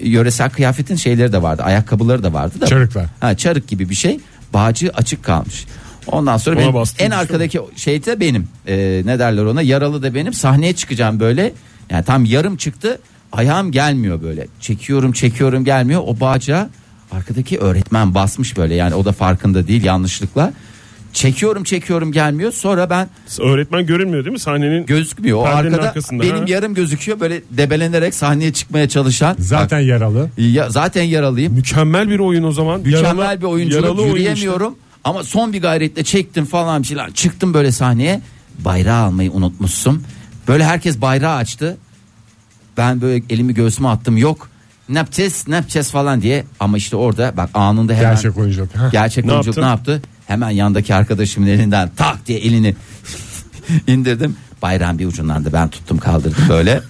Speaker 3: e, yöresel kıyafetin şeyleri de vardı. Ayakkabıları da vardı da.
Speaker 2: Çarıklar.
Speaker 3: Ha çarık gibi bir şey. Bağcı açık kalmış. Ondan sonra
Speaker 4: Ona
Speaker 3: benim-
Speaker 4: bastın
Speaker 3: en
Speaker 4: işte.
Speaker 3: arkadaki şey de benim. E, ne derler ona? Yaralı da benim. Sahneye çıkacağım böyle. Yani tam yarım çıktı. Ayağım gelmiyor böyle. Çekiyorum, çekiyorum gelmiyor. O bağcığa arkadaki öğretmen basmış böyle. Yani o da farkında değil yanlışlıkla. Çekiyorum, çekiyorum gelmiyor. Sonra ben
Speaker 4: öğretmen görünmüyor değil mi sahnenin?
Speaker 3: gözükmüyor. O
Speaker 4: Perdenin
Speaker 3: arkada
Speaker 4: arkasında,
Speaker 3: benim
Speaker 4: ha?
Speaker 3: yarım gözüküyor. Böyle debelenerek sahneye çıkmaya çalışan.
Speaker 2: Zaten
Speaker 3: Bak,
Speaker 2: yaralı.
Speaker 3: ya, zaten yaralıyım.
Speaker 4: Mükemmel bir oyun o zaman.
Speaker 3: Mükemmel
Speaker 4: Yaralı-
Speaker 3: bir oyunculuk
Speaker 4: yaralı oyun işte.
Speaker 3: yürüyemiyorum. Ama son bir gayretle çektim falan bir şeyler. Çıktım böyle sahneye. Bayrağı almayı unutmuşsun. Böyle herkes bayrağı açtı. Ben böyle elimi göğsüme attım. Yok. Ne yapacağız? Ne yapacağız falan diye. Ama işte orada bak anında hemen
Speaker 2: Gerçek oyunculuk. Ha.
Speaker 3: gerçek
Speaker 4: Ne
Speaker 3: oyunculuk
Speaker 4: yaptın?
Speaker 3: ne yaptı? Hemen yandaki arkadaşımın elinden tak diye elini indirdim. Bayrağın bir ucundan da ben tuttum kaldırdım böyle.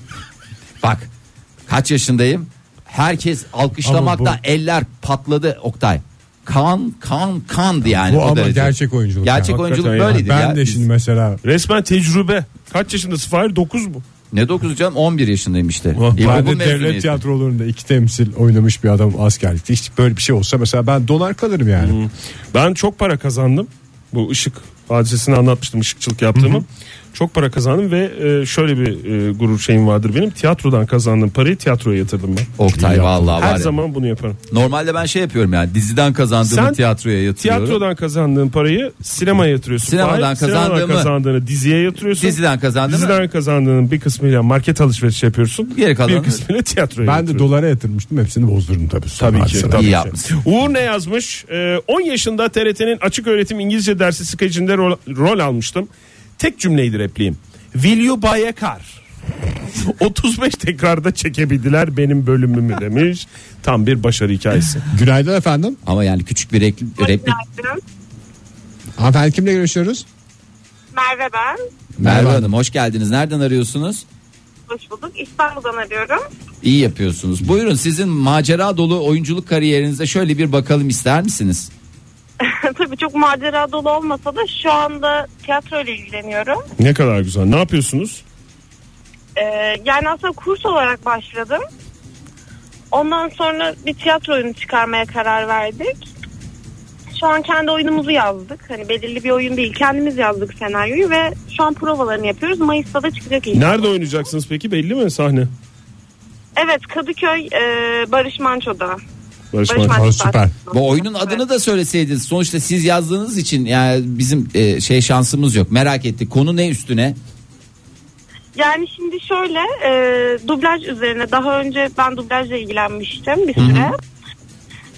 Speaker 3: Bak kaç yaşındayım? Herkes alkışlamakta eller patladı Oktay. Kan kan kandı yani.
Speaker 2: Bu
Speaker 3: o
Speaker 2: ama
Speaker 3: derece.
Speaker 2: gerçek oyunculuk
Speaker 3: Gerçek
Speaker 2: yani.
Speaker 3: oyunculuk
Speaker 4: Hakikaten ya.
Speaker 3: böyleydi
Speaker 2: Ben
Speaker 3: ya.
Speaker 2: de şimdi mesela
Speaker 4: Resmen tecrübe. Kaç yaşındasın? Fahir 9 mu?
Speaker 3: Ne 9 canım 11 yaşındayım işte. İlkokul
Speaker 2: ben de devlet
Speaker 3: mezuniyeti.
Speaker 2: tiyatrolarında iki temsil oynamış bir adam askerlikte. Hiç böyle bir şey olsa mesela ben donar kalırım yani.
Speaker 4: Ben çok para kazandım. Bu ışık hadisesini anlatmıştım ışıkçılık yaptığımı. Çok para kazandım ve e, şöyle bir e, gurur şeyim vardır benim. Tiyatrodan kazandığım parayı tiyatroya yatırdım ben.
Speaker 3: Oktay vallahi
Speaker 4: Her
Speaker 3: var. ya.
Speaker 4: zaman bunu yaparım.
Speaker 3: Normalde ben şey yapıyorum yani diziden kazandığımı
Speaker 4: Sen
Speaker 3: tiyatroya yatırıyorum.
Speaker 4: Tiyatrodan kazandığın parayı sinemaya yatırıyorsun.
Speaker 3: Sinemadan
Speaker 4: Fahir, sinemadan
Speaker 3: kazandığımı-
Speaker 4: kazandığını diziye yatırıyorsun.
Speaker 3: Diziden kazandığımı-
Speaker 4: Diziden kazandığının bir kısmıyla market alışverişi yapıyorsun.
Speaker 3: Geri kalanı-
Speaker 4: Bir kısmıyla tiyatroya
Speaker 2: Ben de
Speaker 4: yatırıyorsun.
Speaker 2: dolara yatırmıştım hepsini bozdurdum tabii. son
Speaker 4: Tabii ki.
Speaker 2: hadiseden.
Speaker 4: Tabii
Speaker 3: İyi
Speaker 4: ki.
Speaker 3: yapmışsın.
Speaker 4: Uğur ne yazmış? Ee, 10 yaşında TRT'nin açık öğretim İngilizce dersi skecinde rol, rol almıştım. Tek cümleydi repliğim. Will you buy a car? 35 tekrarda çekebildiler benim bölümümü demiş. Tam bir başarı hikayesi.
Speaker 2: Günaydın efendim.
Speaker 3: Ama yani küçük bir replik, replik
Speaker 8: Günaydın.
Speaker 2: Hanımefendi kimle görüşüyoruz?
Speaker 8: Merve ben.
Speaker 3: Merve Hanım hoş geldiniz. Nereden arıyorsunuz?
Speaker 8: Hoş bulduk. İstanbul'dan arıyorum.
Speaker 3: İyi yapıyorsunuz. Buyurun sizin macera dolu oyunculuk kariyerinize şöyle bir bakalım ister misiniz?
Speaker 8: Tabii çok macera dolu olmasa da şu anda tiyatro ile ilgileniyorum.
Speaker 4: Ne kadar güzel. Ne yapıyorsunuz?
Speaker 8: Ee, yani aslında kurs olarak başladım. Ondan sonra bir tiyatro oyunu çıkarmaya karar verdik. Şu an kendi oyunumuzu yazdık. Hani belirli bir oyun değil. Kendimiz yazdık senaryoyu ve şu an provalarını yapıyoruz. Mayıs'ta da çıkacak ilk.
Speaker 4: Nerede oynayacaksınız peki belli mi sahne?
Speaker 8: Evet Kadıköy e, Barış Manço'da.
Speaker 4: Barış
Speaker 8: Barış
Speaker 4: Manço.
Speaker 8: Manço
Speaker 2: süper.
Speaker 8: sahnesi.
Speaker 3: Bu oyunun adını da söyleseydiniz. Sonuçta siz yazdığınız için yani bizim e, şey şansımız yok. Merak ettik. Konu ne üstüne?
Speaker 8: Yani şimdi şöyle e, dublaj üzerine daha önce ben dublajla ilgilenmiştim bir süre.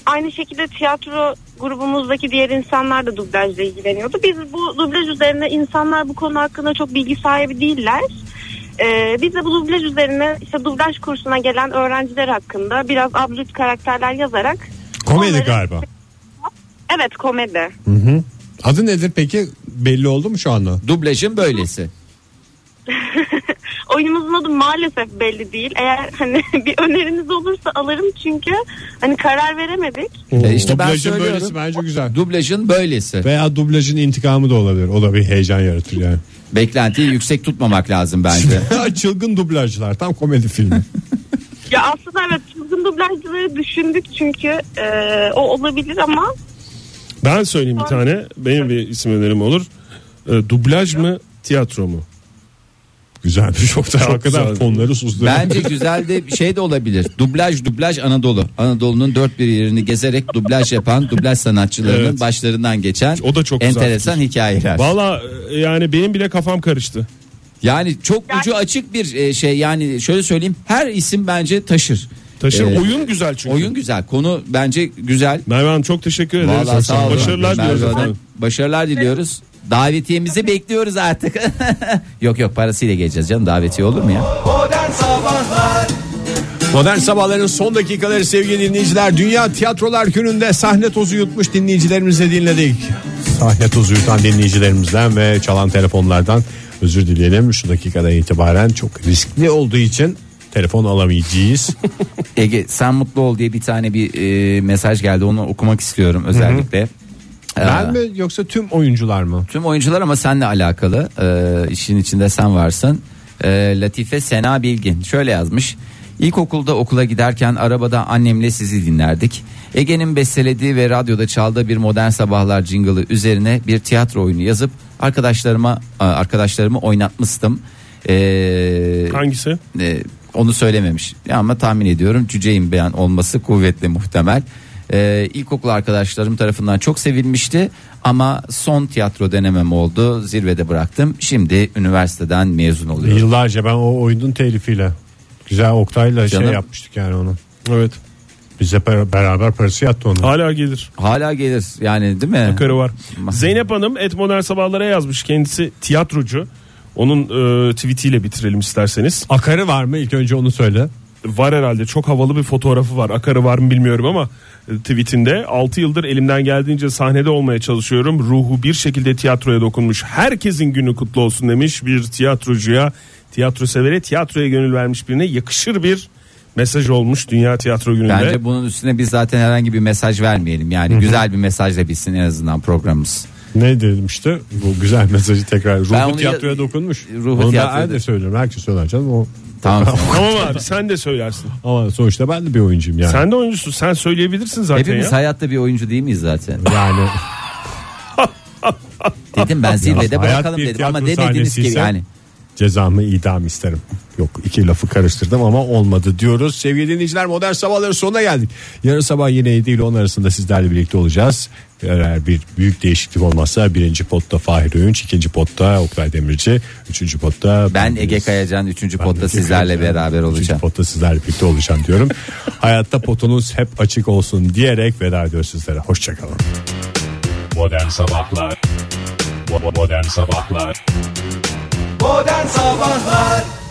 Speaker 8: Aynı şekilde tiyatro grubumuzdaki diğer insanlar da dublajla ilgileniyordu. Biz bu dublaj üzerine insanlar bu konu hakkında çok bilgi sahibi değiller. E, biz de bu dublaj üzerine işte dublaj kursuna gelen öğrenciler hakkında biraz absürt karakterler yazarak
Speaker 2: Komedi
Speaker 8: Onları-
Speaker 2: galiba.
Speaker 8: evet komedi.
Speaker 2: Adı nedir peki? Belli oldu mu şu anda?
Speaker 3: Dublajın böylesi.
Speaker 8: Oyunumuzun adı maalesef belli değil. Eğer hani bir öneriniz olursa alırım çünkü hani karar veremedik.
Speaker 3: E işte ben
Speaker 2: Dublajın
Speaker 3: söylüyorum.
Speaker 2: böylesi bence güzel.
Speaker 3: Dublajın böylesi.
Speaker 2: Veya dublajın intikamı da olabilir. O da bir heyecan yaratır yani.
Speaker 3: Beklentiyi yüksek tutmamak lazım bence.
Speaker 2: Çılgın dublajlar tam komedi filmi.
Speaker 8: Ya aslında evet çılgın dublajcıları düşündük çünkü e, o olabilir ama
Speaker 4: Ben söyleyeyim bir tane. Benim bir isim önerim olur. Ee, dublaj mı tiyatro mu?
Speaker 2: Güzel bir şokta. Hakikaten
Speaker 4: güzel.
Speaker 2: fonları susturdu.
Speaker 3: Bence güzel de bir şey de olabilir. Dublaj dublaj Anadolu. Anadolu'nun dört bir yerini gezerek dublaj yapan dublaj sanatçılarının
Speaker 4: Evet.
Speaker 3: başlarından geçen
Speaker 4: O da çok güzel
Speaker 3: enteresan hikayeler.
Speaker 4: Valla e, yani benim bile kafam karıştı.
Speaker 3: Yani çok ucu açık bir e, şey yani şöyle söyleyeyim her isim bence taşır.
Speaker 4: Taşır
Speaker 3: Ee,
Speaker 4: oyun güzel çünkü.
Speaker 3: Oyun güzel konu bence güzel.
Speaker 4: Merve Hanım çok teşekkür ederiz.
Speaker 3: Vallahi sağ olun.
Speaker 4: Başarılar
Speaker 3: Merve
Speaker 4: diliyoruz
Speaker 3: Hanım,
Speaker 4: efendim.
Speaker 3: Başarılar diliyoruz. Davetiyemizi bekliyoruz artık. yok yok parasıyla geleceğiz canım davetiye olur mu ya?
Speaker 1: Modern Sabahlar
Speaker 2: Modern sabahların son dakikaları sevgili dinleyiciler. Dünya Tiyatrolar Günü'nde sahne tozu yutmuş dinleyicilerimizle dinledik. Sahne tozu yutan dinleyicilerimizden ve çalan telefonlardan özür dileyelim. Şu dakikadan itibaren çok riskli olduğu için telefon alamayacağız.
Speaker 3: Ege sen mutlu ol diye bir tane bir e, mesaj geldi onu okumak istiyorum özellikle. Ee,
Speaker 2: ben mi yoksa tüm oyuncular mı?
Speaker 3: Tüm oyuncular ama senle alakalı Ee, işin içinde sen varsın. Ee, Latife Sena Bilgin şöyle yazmış. İlkokulda okula giderken arabada annemle sizi dinlerdik. Ege'nin bestelediği ve radyoda çaldığı bir modern sabahlar jingle'ı üzerine bir tiyatro oyunu yazıp arkadaşlarıma e, arkadaşlarımı oynatmıştım. Ee,
Speaker 4: Hangisi?
Speaker 3: e, onu söylememiş. Ya Ama tahmin ediyorum cüceyim beyan olması kuvvetli muhtemel. E, ilkokul arkadaşlarım tarafından çok sevilmişti ama son tiyatro denemem oldu. Zirvede bıraktım. Şimdi üniversiteden mezun oluyorum.
Speaker 2: Yıllarca ben o oyunun telifiyle. Güzel Oktay'la
Speaker 3: Canım.
Speaker 2: şey yapmıştık yani onu.
Speaker 4: Evet.
Speaker 2: Bize per- beraber parası yattı onu.
Speaker 4: Hala gelir.
Speaker 3: Hala gelir yani değil mi?
Speaker 4: Karı var. Zeynep Hanım et modern sabahlara yazmış. Kendisi tiyatrocu. Onun e, tweetiyle bitirelim isterseniz.
Speaker 2: Akarı var mı? İlk önce onu söyle.
Speaker 4: Var herhalde çok havalı bir fotoğrafı var. Akarı var mı bilmiyorum ama e, tweetinde 6 yıldır elimden geldiğince sahnede olmaya çalışıyorum. Ruhu bir şekilde tiyatroya dokunmuş. Herkesin günü kutlu olsun demiş bir tiyatrocuya. Tiyatro severe, tiyatroya gönül vermiş birine yakışır bir mesaj olmuş Dünya Tiyatro Günü'nde.
Speaker 3: Bence bunun üstüne biz zaten herhangi bir mesaj vermeyelim. Yani güzel bir mesajla bitsin en azından programımız.
Speaker 2: Ne demişti? Bu güzel mesajı tekrar.
Speaker 3: Ben
Speaker 2: Ruhu
Speaker 3: onu-
Speaker 2: tiyatroya dokunmuş.
Speaker 3: Ruhu
Speaker 2: onu
Speaker 3: tiyatroya
Speaker 2: ben de
Speaker 3: dokun-
Speaker 2: söylüyorum. Herkes söyler canım. O...
Speaker 3: Tamam.
Speaker 4: Tamam abi sen de söylersin.
Speaker 2: Ama sonuçta ben de bir oyuncuyum yani.
Speaker 4: Sen de oyuncusun. Sen söyleyebilirsin zaten
Speaker 3: Hepimiz
Speaker 4: ya.
Speaker 3: hayatta bir oyuncu değil miyiz zaten?
Speaker 2: Yani
Speaker 3: Dedim ben zirvede
Speaker 2: hayat
Speaker 3: bırakalım
Speaker 2: bir
Speaker 3: dedim ama
Speaker 2: tiyatro
Speaker 3: demediniz ki
Speaker 2: sahnesiyse-
Speaker 3: yani.
Speaker 2: cezamı idam isterim. Yok iki lafı karıştırdım ama olmadı diyoruz. Sevgili dinleyiciler modern sabahları sonuna geldik. Yarın sabah yine 7 ile 10 arasında sizlerle birlikte olacağız. Eğer bir büyük değişiklik olmazsa birinci potta Fahir Öğünç, ikinci potta Oktay Demirci, üçüncü potta
Speaker 3: Ben Ege
Speaker 2: Deniz-
Speaker 3: Kayacan 3.
Speaker 2: Ben
Speaker 3: potta
Speaker 2: de
Speaker 3: sizlerle
Speaker 2: tekrar-
Speaker 3: beraber
Speaker 2: Üçüncü
Speaker 3: olacağım.
Speaker 2: potta sizlerle birlikte olacağım diyorum. Hayatta potunuz hep açık olsun diyerek veda ediyoruz sizlere. Hoşçakalın.
Speaker 9: Modern Sabahlar Bo- bo- Modern Sabahlar
Speaker 1: Modern Sabahlar